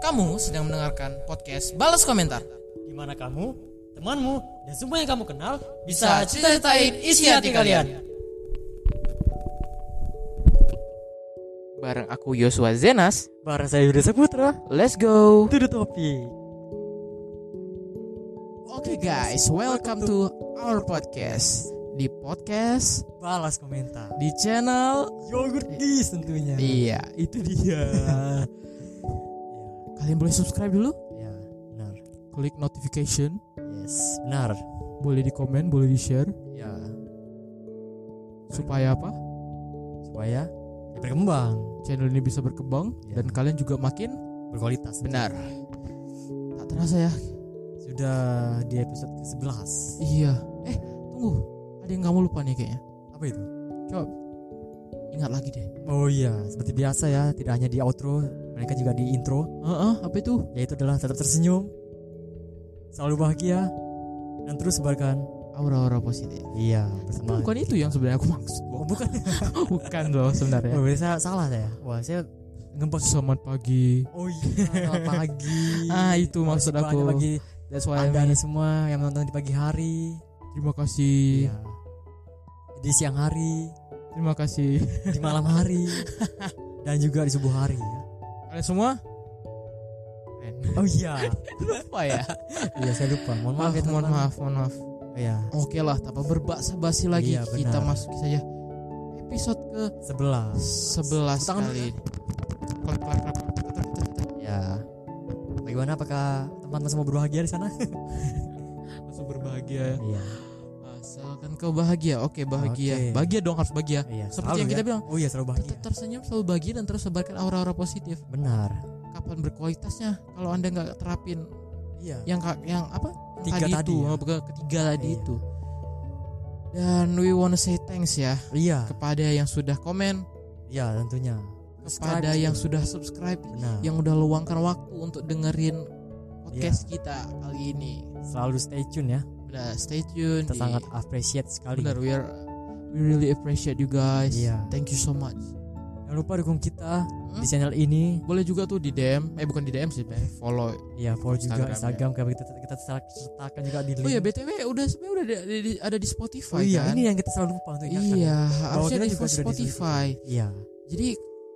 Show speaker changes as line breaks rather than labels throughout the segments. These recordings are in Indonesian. Kamu sedang mendengarkan podcast Balas Komentar.
di mana kamu, temanmu, dan semua yang kamu kenal
Bisa cita-citain isi hati kalian. Bareng aku Yosua Zenas.
Barang saya Yudha Saputra,
Let's go.
itu the topic.
Oke guys, welcome to our podcast. Di podcast,
Balas komentar.
di channel.
Yogurt Geese tentunya.
Iya,
itu dia.
kalian boleh subscribe dulu.
ya, benar.
Klik notification.
Yes, benar.
Boleh di komen, boleh di share.
Ya,
Supaya apa?
supaya ya berkembang,
Channel ini bisa berkembang
Iya.
dan kalian juga makin
berkualitas.
benar. Tak terasa ya.
Sudah di episode ke-11.
Iya. Eh, tunggu. Ada yang kamu lupa nih kayaknya.
Apa itu?
Ingat lagi deh.
Oh iya, seperti biasa ya, tidak hanya di outro, mereka juga di intro.
Heeh, apa itu?
yaitu adalah tetap tersenyum, selalu bahagia, dan terus sebarkan.
Aura-aura positif.
Iya,
Tapi
bersama.
bukan itu yang sebenarnya aku maksud.
Oh, bukan.
bukan loh sebenarnya.
Oh, saya salah saya. Wah, saya ngembek.
Selamat pagi.
Oh iya, pagi.
Ah, itu maksud
Terima kasih
aku.
Bagi
That's why I
Anda anda
mean,
semua yang menonton di pagi hari.
terima kasih.
Iya. Di siang hari,
Terima kasih.
di malam hari, dan juga di subuh hari. ya.
Kalian semua? Keren.
Oh iya.
Apa ya?
iya, saya lupa. Mohon maaf
maaf,
ya,
mohon
teman-teman.
maaf, mohon maaf.
Iya,
Oke lah, tanpa berbahasa basi lagi
Iya,
kita
benar.
masuk saja episode ke
sebelah.
11
Tangan
kali. ini. Klak, klak, klak, klak, klak, klak, klak.
Ya. Bagaimana apakah teman-teman semua berbahagia di sana?
Langsung berbahagia.
Iya.
Asalkan kau bahagia. Oke, bahagia.
Oke.
Bahagia dong harus bahagia.
Iya,
Seperti yang kita bilang.
Oh iya, selalu bahagia.
Tetap tersenyum, selalu bahagia dan terus sebarkan aura-aura positif.
Benar.
Kapan berkualitasnya? Kalau Anda nggak terapin
Iya.
yang ka- yang apa? Yang
Tiga tadi
itu,
ya.
oh, bukan, ketiga tadi
Iya.
itu. Dan we wanna say thanks ya
Iya.
kepada yang sudah komen,
Iya, tentunya.
kepada yang sudah subscribe,
Benar.
yang udah luangkan waktu untuk dengerin
Iya.
podcast kita kali ini.
selalu stay tune ya.
Udah stay tune.
Kita
di-
sangat appreciate sekali.
Iya. benar we are we really appreciate you guys.
Iya.
Thank you so much.
Jangan lupa dukung kita
Hmm?
di channel ini.
boleh juga tuh di DM eh bukan di DM sih Pak. follow
Iya, follow juga
Instagram, ya.
Instagram kita kita, kita sertakan juga di link.
oh ya btw udah sebenarnya udah ada di, di- ada di Spotify
Hmm. Oh iya,
kan
ini yang kita selalu lupa untuk ingatkan. ya. Oh,
iya harusnya
kita
ada di
juga sudah di
Spotify
Iya.
jadi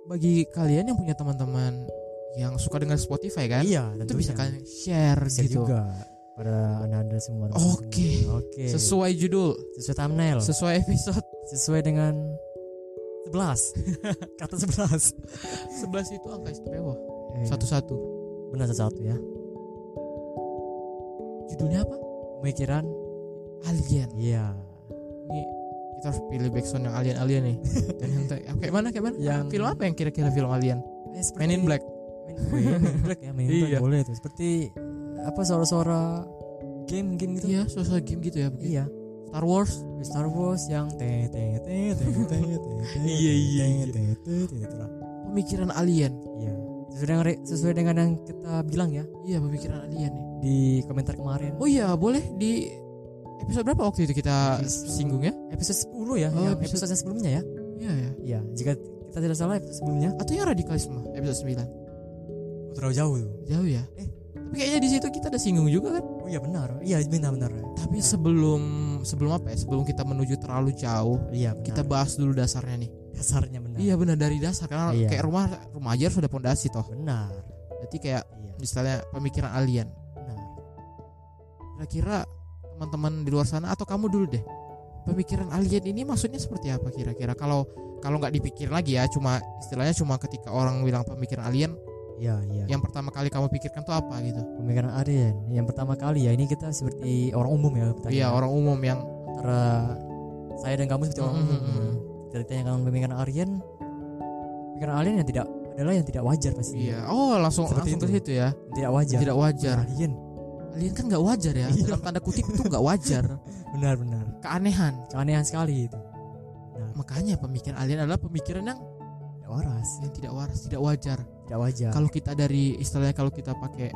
bagi kalian yang punya teman-teman yang suka dengan Spotify kan
Iya,
itu
tentunya.
bisa kalian share
Share
gitu
juga pada anda-anda semua. teman-teman.
oke
Oke.
sesuai judul
sesuai thumbnail.
sesuai episode
sesuai dengan 11. Kata 11.
11 itu angka istimewa
Iya.
satu-satu
benar satu ya.
judulnya apa
Pemikiran
alien
Iya.
ini kita harus pilih backsound yang alien-alien nih dan yang te- kayak mana kayak mana
Yang-
film apa yang kira-kira film alien
Eh, seperti-
Men in Black
Men, Men in Black ya, Men in Black
Iya.
boleh tuh. Seperti apa suara-suara game game gitu.
Iya, suasana game gitu ya. begitu.
Iya.
Star Wars.
Star Wars yang te te te te te te
Iya, iya, iya.
te te te te te.
Pemikiran alien.
Iya. Sesuai dengan sesuai dengan yang kita bilang ya
Iya, pemikiran alien nih.
di komentar kemarin.
Oh iya, boleh di episode berapa waktu itu kita
Episode-
singgung ya?
Episode 10 ya,
Oh,
yang
episode-
episode yang sebelumnya ya.
Iya ya.
Iya, jika kita tidak salah episode sebelumnya.
Atau yang radikalisme episode 9.
Terlalu jauh tuh.
Oh, Jauh ya.
Eh.
Tapi kayaknya di situ kita ada singgung juga kan? Nah.
Oh iya benar. Iya benar benar.
Tapi sebelum sebelum apa ya? Sebelum kita menuju terlalu jauh,
Iya, benar.
kita bahas dulu dasarnya nih.
dasarnya benar.
Iya benar dari dasar karena
Iya.
kayak rumah rumah aja sudah pondasi toh.
Benar.
Berarti kayak
Iya,
misalnya pemikiran alien.
benar.
Kira-kira teman-teman di luar sana atau kamu dulu deh pemikiran alien ini maksudnya seperti apa kira-kira kalau kalau nggak dipikir lagi ya cuma istilahnya cuma ketika orang bilang pemikiran alien
Iya, iya.
yang pertama kali kamu pikirkan tuh apa gitu
pemikiran Aryan yang pertama kali ya ini kita seperti orang umum ya kita
iya orang umum yang
antara saya dan kamu seperti orang
Mm,
umum
mm, mm.
kita ditanyakan pemikiran Aryan pemikiran Aryan yang tidak adalah yang tidak wajar pasti
iya oh langsung
Seperti
langsung ke
itu.
situ ya
Yang tidak wajar
tidak wajar
Aryan
alien kan nggak wajar ya
Iya.
dalam tanda kutip itu nggak wajar
benar-benar
keanehan
keanehan sekali itu benar
makanya pemikiran alien adalah pemikiran yang
tidak waras
yang tidak waras tidak wajar
tidak wajar
kalau kita dari istilahnya kalau kita pakai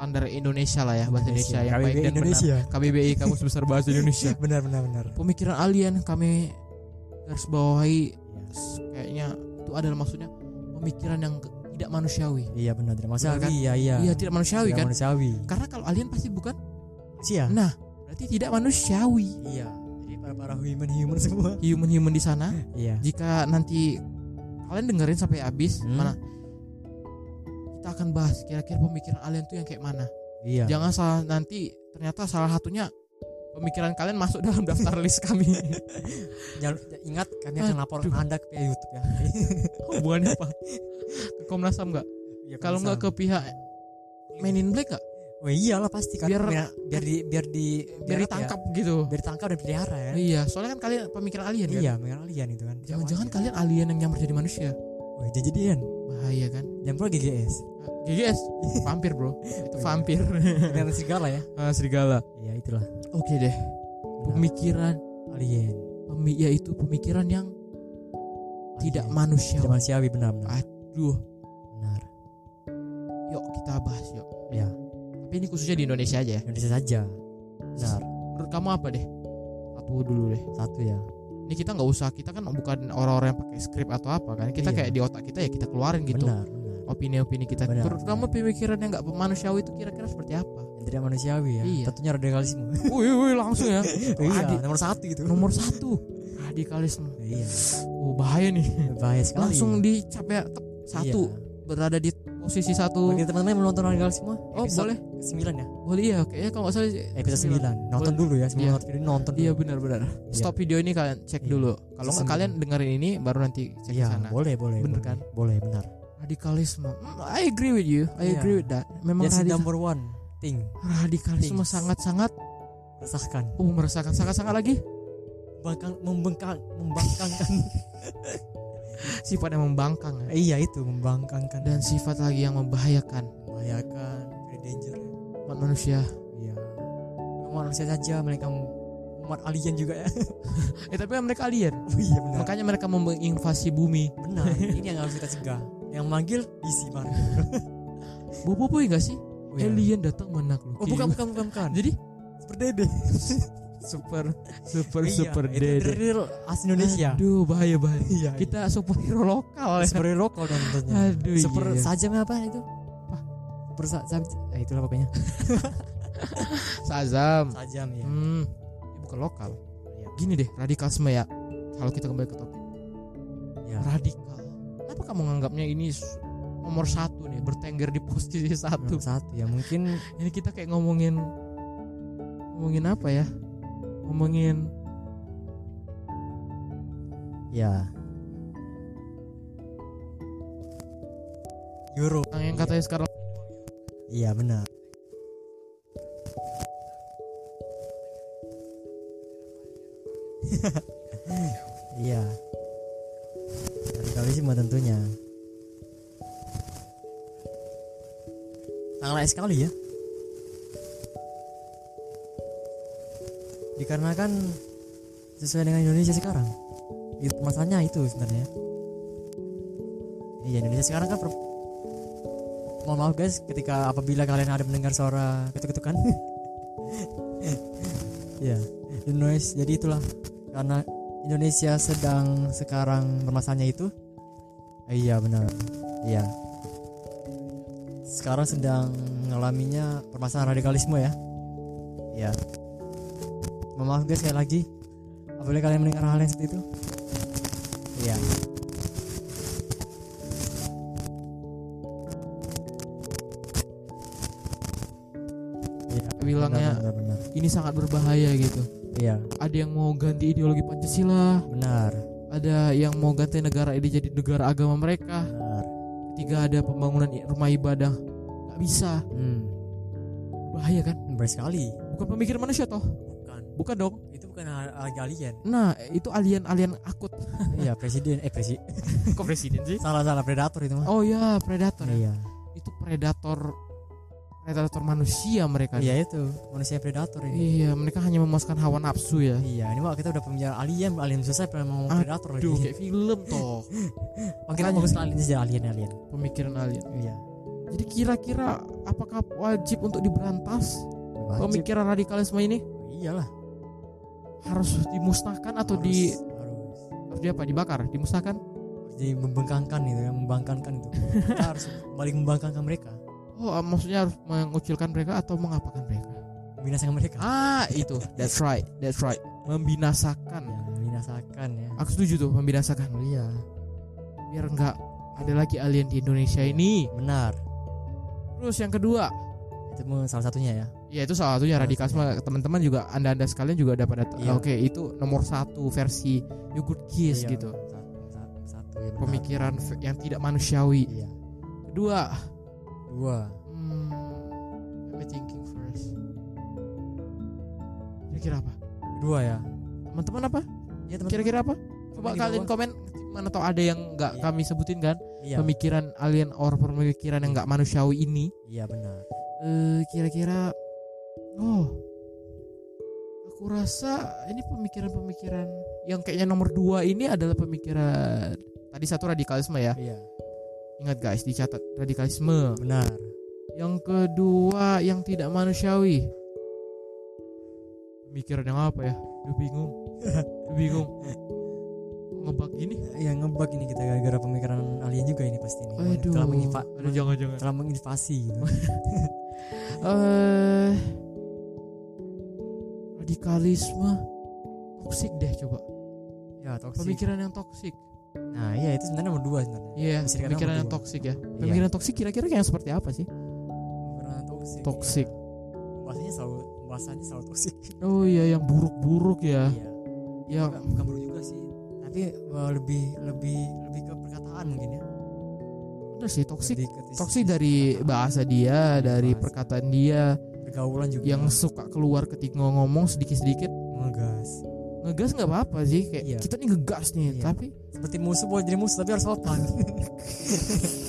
standar Indonesia lah ya bahasa Indonesia, yang baik
KBBI
dan benar
Iya, Indonesia
KBBI Kamus Besar Bahasa Indonesia.
benar benar benar
Pemikiran alien kami garis bawahi
Iya.
s- kayaknya itu adalah maksudnya pemikiran yang ke- tidak tidak manusiawi.
iya benar tidak
Benar
manusiawi
kan?
iya iya
Iya, tidak manusiawi
Tidak
kan?
manusiawi
Karena kalau alien pasti bukan.
manusia
Nah, berarti tidak manusiawi.
iya jadi para para human human semua
Human-human di sana
iya
jika nanti kalian dengerin sampai habis
Hmm.
mana kita akan bahas kira-kira pemikiran alien tuh yang kayak mana.
iya
Jangan salah nanti ternyata salah satunya pemikiran kalian masuk dalam daftar list kami.
Jangan, ingat kami
Nah.
akan laporkan
Aduh.
anda ke pihak YouTube ya
Hubungannya apa? Ke Komnas HAM nggak?
Iya,
Kalau nggak ke
penasaran.
pihak Men in Black nggak?
oh iyalah pasti kan
Biar-
biar biar di biar di
Biar
apa ya?
ditangkap gitu.
biar ditangkap dan pelihara ya
Iya, soalnya kan kalian pemikiran alien kan?
iya mengenal alien itu kan
Jangan-jangan kalian alien yang nyamar jadi manusia.
oh, jadi alien
Bahaya kan?
jam pro GGS
GGS, vampir bro. Itu vampir.
dan serigala ya
Ah, serigala.
iya itulah
Oke deh.
Benar.
Pemikiran
alien
pemi yaitu pemikiran yang Iya. tidak
Alien. tidak
manusiawi. Ah.
manusiawi benar benar
Aduh,
benar
yuk kita bahas yuk.
ya
Tapi ini khususnya di Indonesia aja ya.
Indonesia saja benar
Menurut kamu apa deh? Satu dulu deh.
satu ya
Ini kita nggak usah, kita kan bukan orang-orang yang pakai skrip atau apa kan. Kita
Iya.
kayak di otak kita ya kita keluarin gitu.
benar benar
Opini-opini kita.
Benar.
Menurut kamu pemikiran yang nggak manusiawi itu kira-kira seperti apa?
yang tidak manusiawi ya
Iya.
tentunya radikalisme
Wih, wih langsung ya.
iya
Adi-
nomor satu gitu
nomor satu radikalisme.
iya
Oh bahaya nih.
bahaya sekali Iya.
Langsung dicap ya tep, satu berada di posisi satu.
bagi teman-teman yang belum nonton radikalisme
Oh boleh,
sembilan ya
boleh ya. Kayaknya kalau nggak salah
episode sembilan nonton dulu ya sebelum
Iya.
nonton video nonton dulu.
Iya benar-benar. Stop video ini kalian cek
Iya.
dulu. Kalau nggak
Sembilan.
kalian dengerin ini baru nanti cek
Iya,
ke sana.
boleh boleh
Bener
boleh.
kan?
boleh benar
Radikalisme. Hmm, I agree with you. I
Iya.
agree with that. Memang
Yes,
radikal-
number one thing
radikalisme
Things.
sangat-sangat
resahkan
oh meresahkan sangat-sangat lagi
membangkang membengkang membangkangkan
sifat yang membangkang ya.
iya itu membangkangkan
dan sifat lagi yang membahayakan
membahayakan very danger ya.
umat manusia.
iya Bukan manusia saja mereka umat alien juga ya
Eh tapi mereka alien.
oh iya benar
Makanya mereka menginvasi bumi.
benar ini yang harus kita cegah yang manggil DC Marvel
Bobo boy gak sih?
oh, iya.
Alien datang menakluk.
oh bukan bukan bukan bukan
Jadi
super dede
super super
Iya,
super
itu
dead.
real asli Indonesia
Aduh bahaya bahaya.
iya kita
Kita superhero lokal ya.
super lokal dong tentunya
Aduh
super
iya, iya.
sajam apa itu apa super sa sajam eh, itulah pokoknya
Sazam.
sajam ya
Hmm. Ini bukan lokal.
Iya.
Gini deh radikalisme ya. Kalau kita kembali ke topik
Iya.
radikal. Kenapa kamu menganggapnya ini s- nomor satu nih bertengger di posisi satu?
Nomor satu ya mungkin
Ini kita kayak ngomongin ngomongin apa ya? Ngomongin
ya Euro
tentang yang katanya sekarang
iya benar iya radikalisme tentunya sangat layak sekali ya dikarenakan sesuai dengan Indonesia sekarang itu masanya itu sebenarnya iya Indonesia sekarang kan per- mohon maaf guys ketika apabila kalian ada mendengar suara ketuk-ketukan ya the noise jadi itulah karena Indonesia sedang sekarang bermasanya itu Eh, iya benar iya sekarang sedang mengalaminya permasalahan radikalisme ya iya mohon maaf guys sekali lagi apabila kalian mendengar hal yang seperti itu iya Iya,
Bilangnya-
benar, benar, benar.
ini sangat berbahaya gitu.
Iya,
Ada yang mau ganti ideologi Pancasila,
benar,
ada yang mau ganti negara ini jadi negara agama mereka.
benar.
Ketiga ada pembangunan i- rumah ibadah. Gak bisa,
Hmm,
bahaya kan?
benar sekali.
Bukan pemikiran manusia toh?
Bukan,
Bukan dong.
itu bukan harga alien.
Nah, itu alien-alien akut.
Iya, presiden, eh presiden.
Kok presiden sih?
Salah salah predator itu mah.
Oh ya, predator. ya.
iya.
Itu predator predator manusia mereka.
Iya itu, manusia predator ini.
Kan? Iya, mereka hanya memuaskan hawa nafsu ya.
Iya, ini mah kita udah pembicara alien, alien selesai pernah ngomong
Aduh,
predator lagi.
Aduh, kayak film toh.
Oh, kita
makanya.
fokus ke alien aja, alien alien.
Pemikiran alien.
Iya.
Jadi kira-kira apakah wajib untuk diberantas
Wajib.
pemikiran radikalisme ini?
Iyalah.
harus dimusnahkan atau di
harus, harus.
harus di apa dibakar dimusnahkan
Harus jadi membengkangkan gitu ya membangkangkan itu kita harus balik membangkangkan mereka
Oh, eh, maksudnya harus mengucilkan mereka atau mengapakan mereka?
membinasakan mereka
Ah, itu. That's right. That's right.
ya,
Membinasakan.
membinasakan ya
Aku setuju tuh membinasakan.
oh, iya
Biar enggak ada lagi alien di Indonesia ini.
benar
Terus yang kedua,
itu mah salah satunya ya
ya itu salah satunya
Salah
radikalisme. Teman-teman juga Anda-anda sekalian juga ada pada
Iya.
oke, itu nomor satu versi yogurt kiss
Iya,
gitu.
satu, satu, satu ya, benar.
Pemikiran fe- yang tidak manusiawi.
iya
Kedua,
dua
hmm, let me thinking first. Kira-kira apa?
dua ya
Teman-teman apa?
ya teman
Kira-kira apa? Coba
di
kalian komen mana tau ada yang nggak
Iya.
kami sebutin kan?
iya
Pemikiran alien or pemikiran yang nggak manusiawi ini.
iya benar
Eh, kira-kira oh aku rasa ini pemikiran-pemikiran yang kayaknya nomor dua ini adalah pemikiran tadi satu radikalisme ya
iya
ingat guys dicatat radikalisme
benar
yang kedua yang tidak manusiawi pemikiran yang apa ya Duh bingung Duh bingung ngebak gini
ya ngebug ini kita gara-gara pemikiran alien juga ini pasti ini
aduh
telah menginva-
aduh jangan-jangan
telah menginvasi gitu.
eh radikalisme toksik deh coba
ya toksik
pemikiran yang toksik
nah iya itu sebenarnya nomor dua sebenarnya
iya
Bisa dikatakan
pemikiran yang
berdua.
toksik ya pemikiran toksik kira-kira kayak seperti apa sih
pemikiran toksik
toksik
bahasanya selalu bahasanya selalu toksik
oh iya yang buruk-buruk ya
iya
yang
Bukan- bukan buruk juga sih tapi uh, lebih lebih lebih ke perkataan mungkin ya
bener sih toksik
Lebih ke tis-
toksik dari bahasa dia dari
Bahasa. Iya.
perkataan dia
pergaulan juga
yang suka keluar ketika ngomong sedikit-sedikit
ngegas
ngegas nggak apa-apa sih kayak
Iya.
kita nih ngegas nih
Iya.
tapi
seperti musuh boleh jadi musuh tapi harus sopan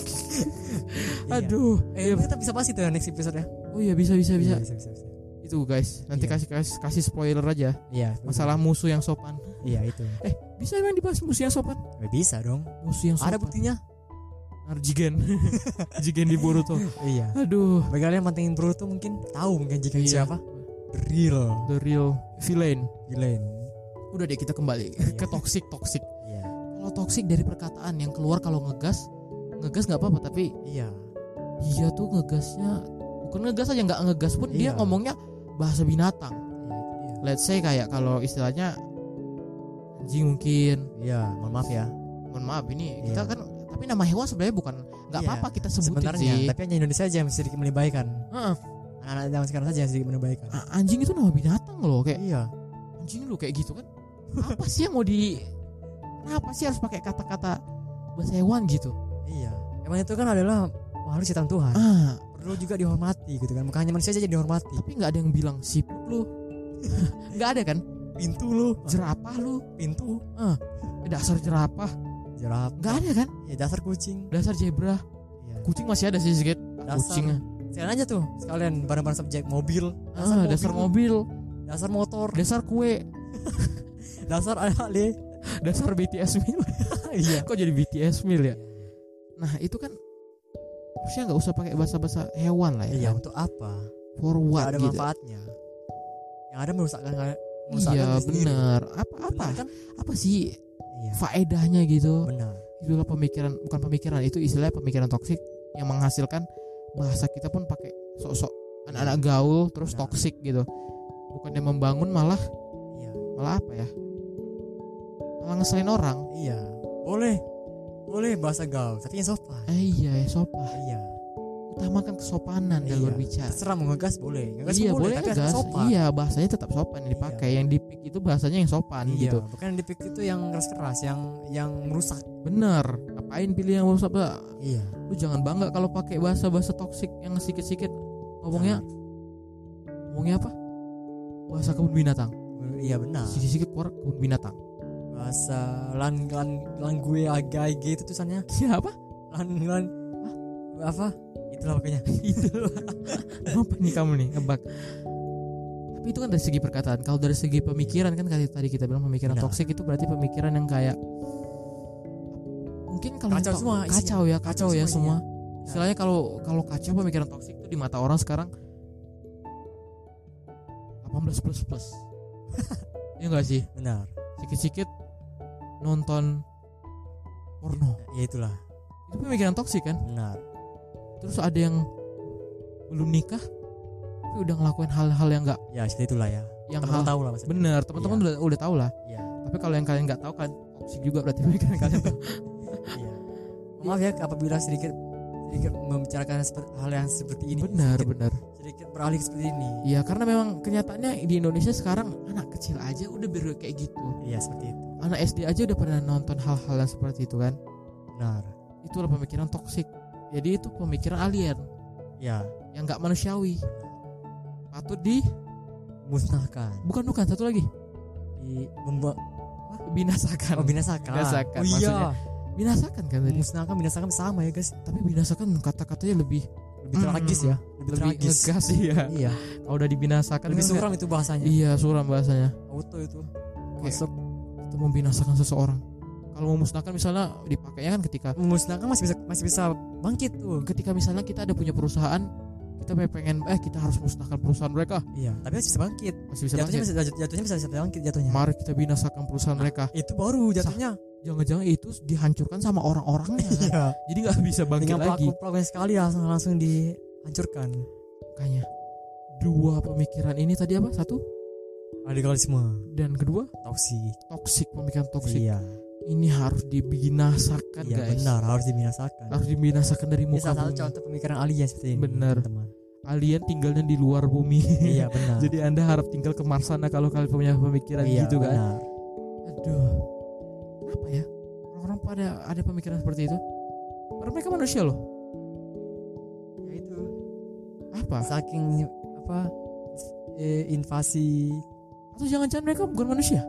Iya.
aduh iya.
eh, kita bisa pasti tuh ya next episode ya
oh iya bisa bisa bisa
Iya, bisa bisa, bisa.
itu guys nanti
Iya.
kasih kasih kasih spoiler aja
Iya,
masalah musuh yang sopan
iya itu
bisa emang dibahas musuh yang sopan
Ya, bisa dong
musuh yang sopan
ada buktinya
Arjigen Jigen di Boruto
iya
aduh
bagi kalian yang mantengin Boruto mungkin tahu mungkin jika
Iya.
siapa real
the real villain
Gilain
udah deh kita kembali ke toxic toxic
iya
kalau toxic dari perkataan yang keluar kalau ngegas ngegas nggak apa-apa tapi
iya
dia tuh ngegasnya bukan ngegas aja nggak ngegas pun dia
Iya.
ngomongnya bahasa binatang
iya
let's say kayak kalau istilahnya anjing mungkin
iya mohon maaf ya
mohon maaf ini
Iya.
kita kan tapi nama hewan sebenarnya bukan nggak
Iya.
apa-apa kita sebutin
sebenarnya
sih
tapi hanya Indonesia aja yang sedikit menebaikan
Heeh.
anak-anak zaman sekarang saja yang sedikit menebaikan
A- anjing itu nama binatang loh kayak
iya
anjing lu kayak gitu kan apa sih yang mau di kenapa sih harus pakai kata-kata bahasa hewan gitu
iya emang itu kan adalah makhluk ciptaan Tuhan
ah
perlu juga dihormati gitu kan bukan hanya manusia saja dihormati
tapi nggak ada yang bilang siput lu nggak ada kan
pintu lu
jerapah lu
pintu
Eh, dasar jerapah
jerap
nggak ada kan
ya dasar kucing
dasar zebra
iya.
kucing masih ada sih sedikit
Dasar-
kucing
sekalian aja tuh sekalian barang-barang subjek mobil
dasar, Ah, dasar mobil
dasar motor
dasar kue
dasar anak le
dasar BTS meal
iya
kok jadi BTS meal ya nah itu kan harusnya nggak usah pakai bahasa-bahasa hewan lah ya
iya
kan?
untuk apa
for
Gak
what
ada
gitu
manfaatnya yang ada merusakkan merusakkan
iya
diri sendiri.
bener apa apa
Benar kan
apa sih
iya
faedahnya gitu
benar
itulah pemikiran bukan pemikiran itu istilahnya pemikiran toksik yang menghasilkan bahasa kita pun pakai sok-sok anak-anak gaul terus
Nah.
toksik gitu bukannya membangun malah
iya
malah apa ya malah ngeselin orang
Iya, boleh. Boleh bahasa gaul, tapi yang sopan.
eh iya ya sopan
Iya.
utamakan kesopanan dalam
Iya.
berbicara
Terserah mau ngegas boleh. Ngegas
iya
boleh,
boleh
tapi
ngegas.
harus sopan.
iya bahasanya tetap sopan yang dipakai yang dipik itu bahasanya yang sopan
Iya,
gitu
bukan yang dipik itu yang keras-keras, yang yang merusak.
bener ngapain pilih yang bahasa
Iya.
lu jangan bangga kalau pakai bahasa bahasa toksik yang sedikit-sedikit ngomongnya ngomongnya apa bahasa kebun binatang
Iya benar.
sedikit-sedikit keluar kebun binatang
Bahasa lan lan lan gue agai gitu tulisannya.
iya apa
Lan lan Hah? apa? Itulah pokoknya. Itulah.
apa nih kamu nih ngebak tapi itu kan dari segi perkataan kalau dari segi pemikiran kan kayak tadi kita bilang pemikiran
Nah.
toksik itu berarti pemikiran yang kayak mungkin kalau
Kacau
to-
semua isinya.
kacau ya kacau,
Kacau
ya semua
semua
istilahnya kalau kalau kacau pemikiran toksik itu di mata orang sekarang 18 plus plus ya enggak sih
benar.
sikit-sikit nonton porno
ya itulah
itu pemikiran toksik kan
benar
terus ada yang belum nikah tapi udah ngelakuin hal-hal yang nggak
ya seperti itulah ya
yang
teman
hal-
tahu lah maksudnya
bener teman-teman
Iya.
udah udah tahu lah
Iya,
tapi kalau yang kalian nggak tahu kan toksik juga berarti pemikiran kalian tuh
iya. maaf ya apabila sedikit sedikit membicarakan seper- hal yang seperti ini
benar
sedikit,
benar
sedikit beralih seperti ini
ya karena memang kenyataannya di Indonesia sekarang anak kecil aja udah beru kayak gitu
iya seperti itu
anak SD aja udah pernah nonton hal-hal yang seperti itu kan
benar
itulah pemikiran toksik jadi itu pemikiran alien
ya
yang nggak manusiawi patut di
musnahkan
bukan bukan satu lagi
di membuat
binasakan
membinasakan
Binasakan,
oh, iya
Hmm. maksudnya. binasakan kan tadi
musnahkan binasakan sama ya guys
tapi binasakan kata-katanya lebih
lebih
Hmm.
tragis ya lebih,
lebih
tragis
ngegas iya
iya
kalau udah dibinasakan
lebih
kan
suram ya? itu
kayak-
bahasanya
iya suram bahasanya
auto itu
Kayak-
masuk
itu membinasakan seseorang kalau memusnahkan misalnya dipakainya kan ketika
memusnahkan masih bisa masih bisa bangkit tuh
ketika misalnya kita ada punya perusahaan kita pengen eh kita harus musnahkan perusahaan mereka
iya tapi masih bisa bangkit
masih bisa
jatuhnya
bangkit.
bisa jatuh- jatuhnya bisa bisa bangkit jatuhnya
mari kita binasakan perusahaan mereka
itu baru jatuhnya
jangan-jangan itu dihancurkan sama orang-orangnya kan?
iya
jadi nggak bisa bangkit
dengan
lagi
pelaku pelakunya sekali langsung langsung dihancurkan
makanya dua pemikiran ini tadi apa satu
radikalisme
dan kedua
toksik
toksik pemikiran toksik
iya
ini harus dibinasakan
iya
guys
benar harus dibinasakan
harus dibinasakan dari
ini
muka
salah satu
bumi
contoh pemikiran alien seperti ini
Benar.
teman
alien tinggalnya di luar bumi
iya benar
jadi anda harap tinggal ke Mars sana kalau kalian punya pemikiran
iya,
gitu kan
benar.
aduh apa ya orang-orang pada ada pemikiran seperti itu padahal mereka manusia loh
ya itu
apa
saking apa eh, invasi
atau jangan-jangan mereka bukan manusia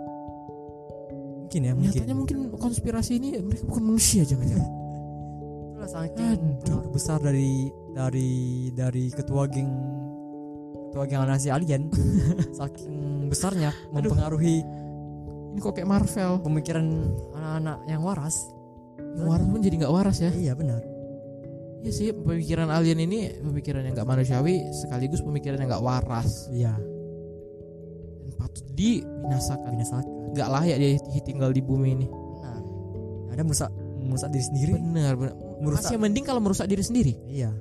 mungkin ya mungkin
nyatanya mungkin konspirasi ini eh, mereka bukan manusia jangan-jangan
Itulah saking
Aduh.
pengaruh besar dari dari dari ketua geng ketua geng anasi alien saking besarnya
Aduh.
mempengaruhi
ini kok kayak Marvel
pemikiran anak-anak yang waras.
yang waras pun jadi nggak waras ya
Iya benar.
Iya sih pemikiran alien ini pemikiran yang nggak manusiawi sekaligus pemikiran yang nggak waras
Iya
dan patut dibinasakan
binasakan.
nggak layak dia ti- tinggal di bumi ini
Benar. Ada merusak merusak diri sendiri.
benar benar
Merusak.
masih mending kalau merusak diri sendiri
Iya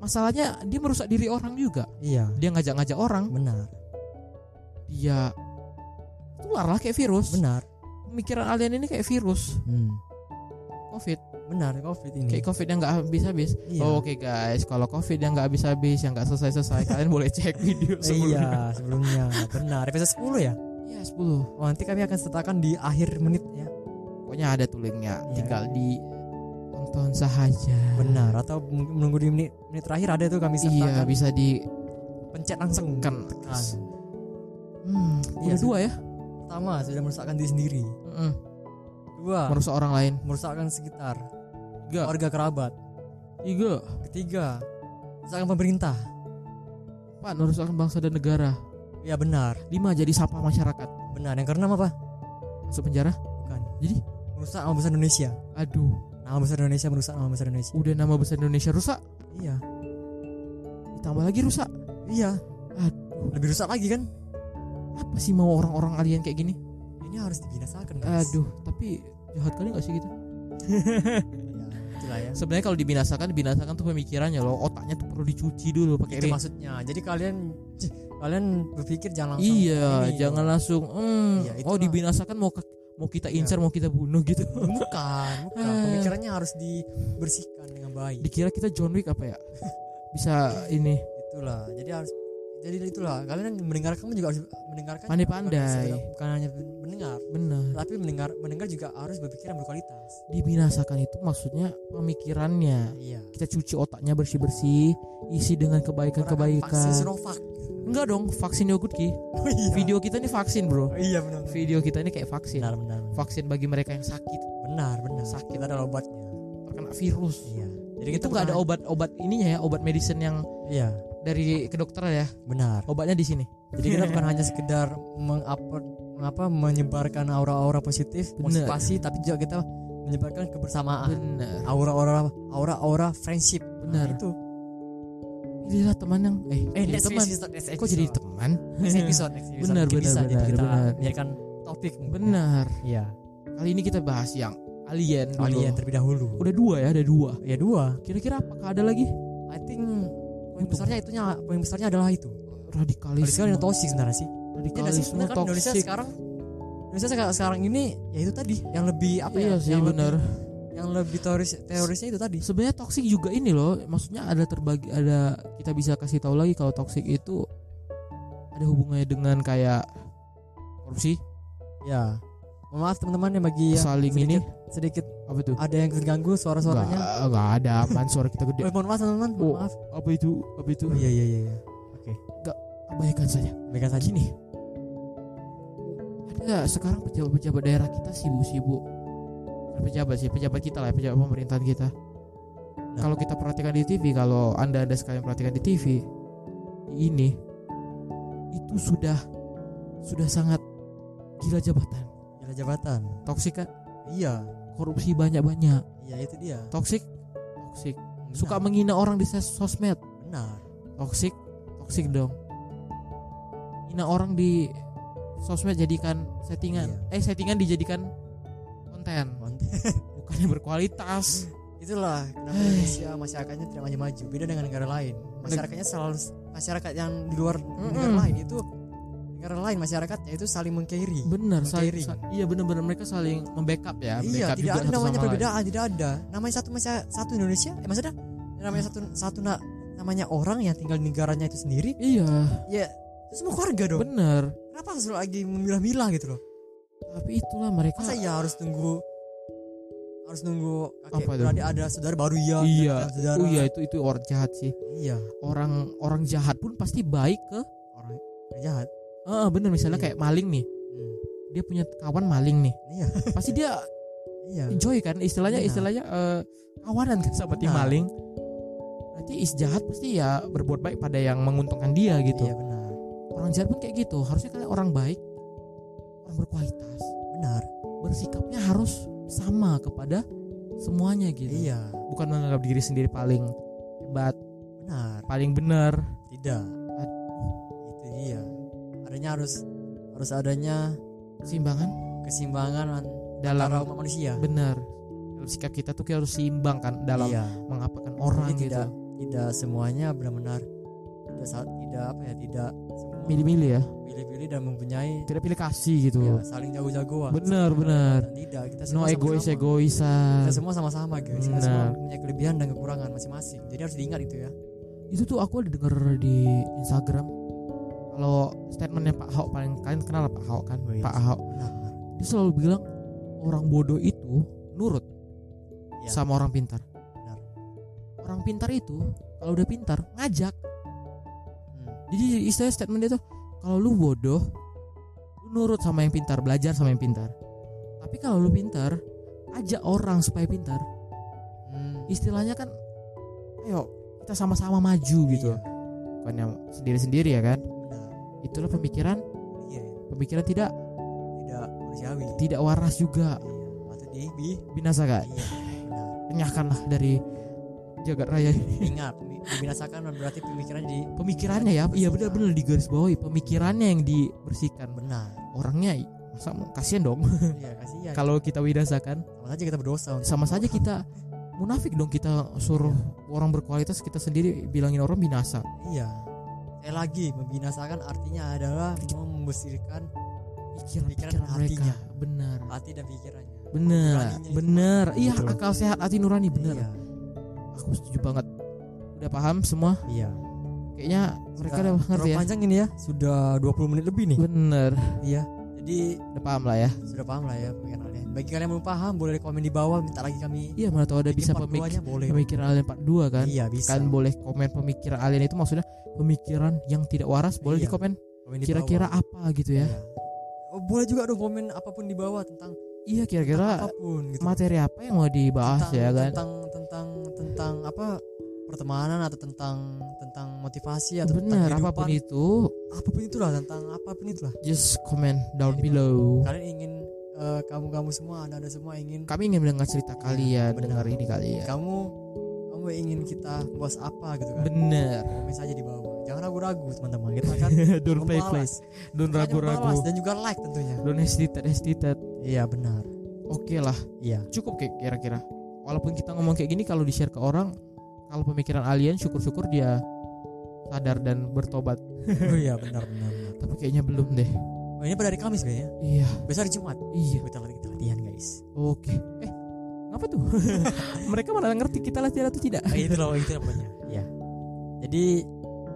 masalahnya dia merusak diri orang juga
iya
dia ngajak-ngajak orang
benar
dia tular lah kayak virus
benar.
pemikiran alien ini kayak virus
Hmm.
covid
Benar covid ini.
kayak covid yang nggak habis-habis
Iya.
Oh, Oke guys, kalau COVID yang nggak habis-habis, yang nggak selesai-selesai, kalian boleh cek video sebelumnya.
Iya sebelumnya benar episode 10 ya
Iya, 10
Oh, nanti kami akan sertakan di akhir menit ya
Pokoknya ada tuh linknya,
Iya.
tinggal di tonton saja.
benar atau mungkin menunggu di menit menit terakhir ada tuh kami
Iya, Kan.
sertakan
bisa di
pencet langsung Nah,
Tekan.
tekan
hmm,
Iya,
udah dua ya,
pertama sudah merusakkan diri sendiri
Mm-mm,
dua
merusak orang lain.
merusakkan sekitar
Tiga,
warga kerabat
tiga,
ketiga merusakkan pemerintah
empat, merusakkan bangsa dan negara.
ya benar
Lima, jadi sapa masyarakat.
benar yang keenam apa
Masuk penjara?
bukan
Jadi,
merusak nama besar Indonesia
aduh,
nama besar Indonesia merusak nama besar Indonesia
udah nama besar Indonesia rusak,
iya
ditambah lagi rusak.
iya
Aduh,
lebih rusak lagi kan
apa sih mau orang-orang alien kayak gini?
ini harus dibinasakan guys
Aduh, tapi jahat kali gak sih kita?
ya, itulah ya
sebenarnya kalau dibinasakan dibinasakan tuh pemikirannya loh otaknya tuh perlu dicuci dulu pakai
itu
ring
maksudnya jadi kalian kalian berpikir jangan langsung
iya
ini.
jangan langsung "Hmm,
Iya,
oh
itulah.
dibinasakan mau ke- mau kita incar mau kita bunuh gitu
bukan bukan
Ah.
pemikirannya harus dibersihkan dengan baik
dikira kita John Wick apa ya bisa ini
itulah jadi harus jadi itulah kalian mendengarkan juga harus mendengarkan juga
Pandai-pandai.
harus sekedar- bukan hanya mendengar
benar
tapi mendengar mendengar juga harus berpikiran berkualitas
dibinasakan itu maksudnya pemikirannya
iya
kita cuci otaknya bersih bersih isi dengan kebaikan
Gunakan vaksin
kebaikan
Sinovac
enggak dong vaksin yogurt ki
oh, iya
video kita ini vaksin bro
Oh, iya benar benar.
video kita ini kayak vaksin
benar benar benar.
vaksin bagi mereka yang sakit
benar benar
Sakit.
kita ada obatnya
terkena virus
iya jadi
itu nggak ada obat obat ininya ya obat medicine yang
iya
dari kedokteran ya
benar
obatnya di sini
jadi kita bukan hanya sekedar mengupload mengapa menyebarkan aura-aura positif
Benar.
motivasi tapi juga kita
Ah.
menyebarkan kebersamaan
bener
aura-aura aura-aura friendship
Benar.
itu
pilihlah teman yang eh,
Eh,
Nah, jadi
next
teman
episode, next
kok jadi
episode.
teman
Next episode, next episode.
Benar,
Mungkin
benar,
bisa, jadi
benar,
kita
benar.
menjadikan topik. mungkin.
benar
Iya.
kali ini kita bahas yang alien dulu.
alien terlebih dahulu
udah dua ya ada dua
ya dua
kira-kira apakah ada lagi
I think
Untung.
poin besarnya itunya poin besarnya adalah itu Indonesia
radikalisme
yang toxic sebenarnya sih Iya nggak sih
radikalisme
sebenarnya kan Indonesia
toksik
sekarang Indonesia sekarang, sekarang ini ya itu tadi yang lebih apa
iya
ya
sih
yang
benar
lebih yang lebih teroris terorisnya itu tadi
sebenarnya toksik juga ini loh maksudnya ada terbagi ada kita bisa kasih tahu lagi kalau toksik itu ada hubungannya dengan kayak korupsi
ya mohon maaf teman-teman yang bagi yang
saling ini
sedikit, sedikit
apa tuh
ada yang terganggu suara-suaranya
Nggak- nggak ada man suara kita gede
Eh, mohon maaf teman-teman mohon
Oh.
maaf
apa itu apa itu
oh, iya iya iya iya. oke
abaikan saja
berikan saja
gini ada sekarang pejabat-pejabat daerah kita sibuk-sibuk Bukan pejabat sih pejabat kita lah pejabat pemerintahan kita kalau kita perhatikan di TV kalau anda anda sekalian perhatikan di TV di ini itu sudah sudah sangat gila jabatan
ada jabatan
toksik kan
iya
korupsi banyak-banyak
iya itu dia
toksik toksik suka
Benar.
menghina orang di ses- sosmed
benar
toksik toksik dong hina orang di sosmed jadikan settingan
Iya.
eh settingan dijadikan konten
Mantap.
bukannya berkualitas
itulah kenapa Indonesia masyarakatnya tidak maju-maju beda dengan negara lain masyarakatnya selalu masyarakat yang di luar negara
Mm-mm.
lain itu negara lain masyarakatnya itu saling mengkiri
bener saling
Mengkering.
sa- iya bener-bener mereka saling membackup ya
iya
backup
tidak
juga
ada
satu
namanya
sama lain.
perbedaan tidak ada namanya satu masya satu Indonesia eh maksudnya namanya satu satu na- namanya orang yang tinggal di negaranya itu sendiri
iya
ya itu semua keluarga dong
bener
kenapa harus lagi memilah-milah gitu loh
tapi itulah mereka
masa ya harus nunggu harus nunggu
Apa
kakek
itu?
berarti ada saudara baru ya
Iya.
ada saudara
oh iya itu itu orang jahat sih
iya
orang orang jahat pun pasti baik ke
orang orang jahat
Heeh, bener misalnya
Iya.
kayak maling nih
Hmm.
dia punya kawan maling nih
Iya.
pasti dia
Iya.
enjoy kan istilahnya
Benar.
istilahnya eh, kawanan kan sama tim
Benar.
maling berarti is jahat pasti ya berbuat baik pada yang menguntungkan dia gitu
Iya benar.
orang jahat pun kayak gitu harusnya kalian orang baik orang berkualitas
Benar.
bersikapnya harus sama kepada semuanya gitu
Iya.
bukan menganggap diri sendiri paling hebat
Benar.
paling benar
Tidak. Itu dia. Adanya harus harus adanya
keseimbangan
keseimbangan antara
dalam
umat manusia.
benar dalam sikap kita tuh kita harus seimbang kan dalam
iya.
mengapakan orang gitu
Jadi tidak tidak semuanya benar-benar tidak saat tidak apa ya tidak semua
milih-milih ya
pilih-pilih dan mempunyai
tidak pilih kasih gitu
ya, saling jago-jagoan.
Benar, benar.
Dan Tidak kita
no
semua
egois
sama-sama.
egoisan
Kita semua sama-sama guys. Kita semua
Benar.
punya kelebihan dan kekurangan masing-masing. Jadi harus diingat itu ya.
itu tuh aku ada denger di Instagram kalau statementnya Pak Ahok paling kalian kenal lah Pak Ahok kan
Oh, iya.
Pak Ahok
Benar. benar.
dia selalu bilang orang bodoh itu nurut
Iya.
sama orang pintar
Benar.
orang pintar itu kalau udah pintar ngajak
Hmm.
jadi istilahnya statement dia tuh kalau lu bodoh lu nurut sama yang pintar belajar sama yang pintar tapi kalau lu pintar ajak orang supaya pintar
Hmm.
istilahnya kan ayo kita sama-sama maju gitu
Iya.
bukan yang sendiri-sendiri ya kan
Benar.
itulah pemikiran
Iya.
pemikiran tidak
tidak manusiawi
tidak waras juga
iya patut di bi
binasa kak
iya benar
kenyahkanlah dari jagat raya ini.
ingat mi- dibinasakan berarti pemikiran di
pemikirannya ya iya benar-benar digaris bawahi pemikirannya yang dibersihkan
benar
orangnya i- masa mau- kasihan dong
iya kasihan
kalau kita wirasakan
sama saja kita berdosa untuk
sama saja kita munafik dong kita suruh orang berkualitas kita sendiri bilangin orang binasa
iya saya lagi membinasakan artinya adalah mau membesarkan
pikiran-pikiran mereka
Pikiran hatinya.
benar
hati dan pikirannya
benar
Nuraninya itu.
benar iya
Betul.
akal sehat hati nurani benar
iya
aku setuju banget udah paham semua
iya
kayaknya mereka
Sudah
udah ngerti
terlalu
ya
panjang ini ya sudah 20 menit lebih nih
bener
iya jadi
udah paham lah ya
sudah paham lah ya pemikiran kalian bagi kalian yang belum paham boleh komen di bawah minta lagi kami
iya mana tau ada
bikin
bisa
part
pemik
duanya, boleh
pemikiran alien part 2 kan
iya bisa
kan boleh komen pemikiran alien itu maksudnya pemikiran yang tidak waras boleh
Iya.
dikomen
Komen di
kira-kira
bawah.
apa gitu ya
Iya. Oh, boleh juga dong komen apapun di bawah tentang
iya kira-kira
apapun gitu.
materi apa yang mau dibahas
tentang,
ya kan
tentang tentang tentang apa pertemanan atau tentang tentang motivasi atau
bener
iya, tentang
apapun itu
apapun itulah tentang apapun itulah.
just comment down
Jadi,
below
Iya. Kalian ingin eh, kamu-kamu semua anda-anda semua ingin
kami ingin mendengar cerita
Iya,
kalian
benar.
mendengar ini ya. kalian
kamu kamu ingin kita bahas apa gitu kan?
bener
Komen saja di bawah. Jangan ragu-ragu teman-teman. gitu kan? Kita akan
don't play play
membalas.
don't
Kita akan membalas
ragu-ragu
dan juga like tentunya.
don't hesitate hesitate
Iya benar.
oke lah
Iya.
cukup kayak kira-kira walaupun kita ngomong kayak gini kalau di share ke orang kalau pemikiran alien syukur-syukur dia sadar dan bertobat
Oh iya benar benar. benar.
tapi kayaknya belum deh
Oh, ini pada hari Kamis kayaknya.
iya
Besar Jumat.
iya
Kita lagi kita latihan guys.
oke eh ngapa tuh mereka mana ngerti kita latihan atau tidak
Nah, itu loh itu namanya. Iya. Jadi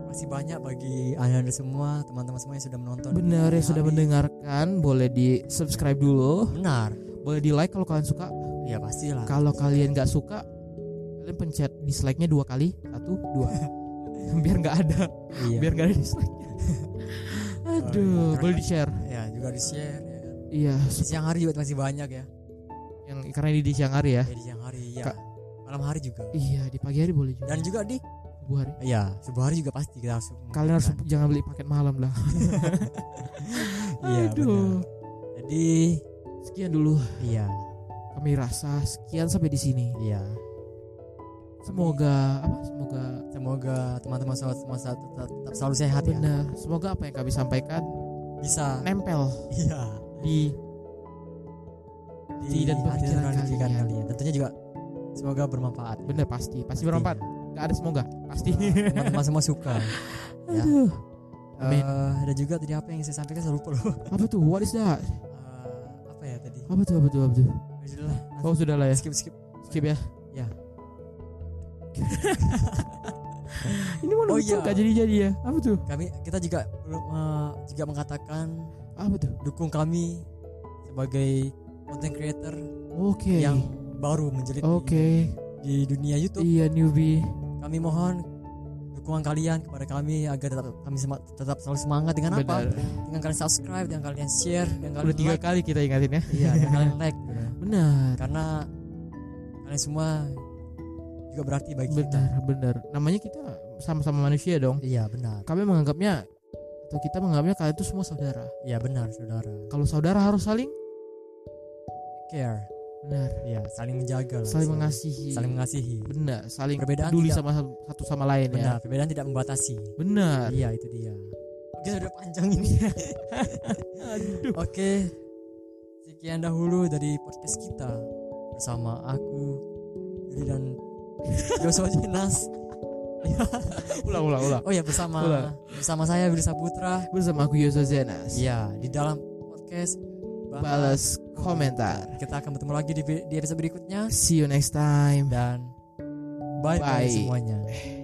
masih banyak bagi anda semua teman-teman semua yang sudah menonton.
benar ya sudah
Kami-
mendengarkan boleh di subscribe dulu
Benar.
boleh di like kalau kalian suka
Iya pastilah.
kalau kalian nggak suka kalian pencet dislike nya dua kali satu dua biar nggak ada
iya.
biar nggak ada dislike aduh
iya.
boleh di share
Ya juga di share. Ya. kan.
iya
Di siang hari juga masih banyak ya.
yang karena ini di siang hari ya
Ya, di siang hari ya.
Kak.
Malam hari juga.
iya di pagi hari boleh juga
Dan juga di
subuh hari
ya subuh hari juga pasti kita harus.
kalian harus
mengumpulkan.
jangan beli paket malam lah
Iya benar.
aduh
Jadi
sekian dulu
iya
kami rasa sekian sampai di sini
iya.
semoga apa semoga
Semoga teman-teman semua semua tetap, tetap selalu sehat ya.
benar Nah, semoga apa yang kami sampaikan
Bisa.
nempel
Iya.
di Hati dan pikiran
pikiran
kalian.
kalian. ya. Tentunya juga semoga bermanfaat. ya.
benar pasti pasti
Pastinya.
berempat nggak ada semoga pasti
Teman-teman semua suka. ya.
aduh Amin.
Eh, ada juga tadi apa yang saya sampaikan saya lupa loh.
apa tuh what is that
Eh, apa ya tadi?
apa tuh apa tuh apa tuh
Sudahlah,
Hmm. oh sudah lah ya
skip skip.
skip ya
Ya.
ini mau
Oh,
lucu
iya.
nggak jadi jadi ya apa tuh
Kami kita juga eh, juga mengatakan
apa tuh
dukung kami sebagai content creator
oke
yang baru menjelit di-
oke
di dunia YouTube.
iya newbie
Kami mohon dukungan kalian kepada kami agar tetap kami sema- tetap selalu semangat dengan apa?
benar
Dengan kalian subscribe, dengan kalian share, dengan
udah
kalian
tiga
like,
kali kita ingatin ya
iya, dengan kalian like. gitu.
benar
Karena kalian semua juga berarti bagi kita.
benar benar namanya kita sama-sama manusia dong
Iya benar.
kami menganggapnya atau kita menganggapnya kalian itu semua saudara
Iya benar saudara.
kalau saudara harus saling
Care.
benar
Iya saling menjaga. lah,
saling mengasihi
Saling mengasihi.
benar saling
Perbedaan
peduli
tidak-
sama satu sama lain ya
Benar. Perbedaan tidak membatasi.
benar
Iya itu dia. Oke sudah panjang ini.
aduh
Oke, sekian dahulu dari podcast kita bersama aku Yuri dan Joshua Jenas.
ulang ulang ulang
Oh ya bersama
Ulang.
bersama saya Yuri Saputra.
bersama aku Yosa Zenas
Ya di dalam podcast Balas
balas komentar
Kita akan bertemu lagi di, di episode berikutnya
see you next time
dan bye bye
Bye.
semuanya.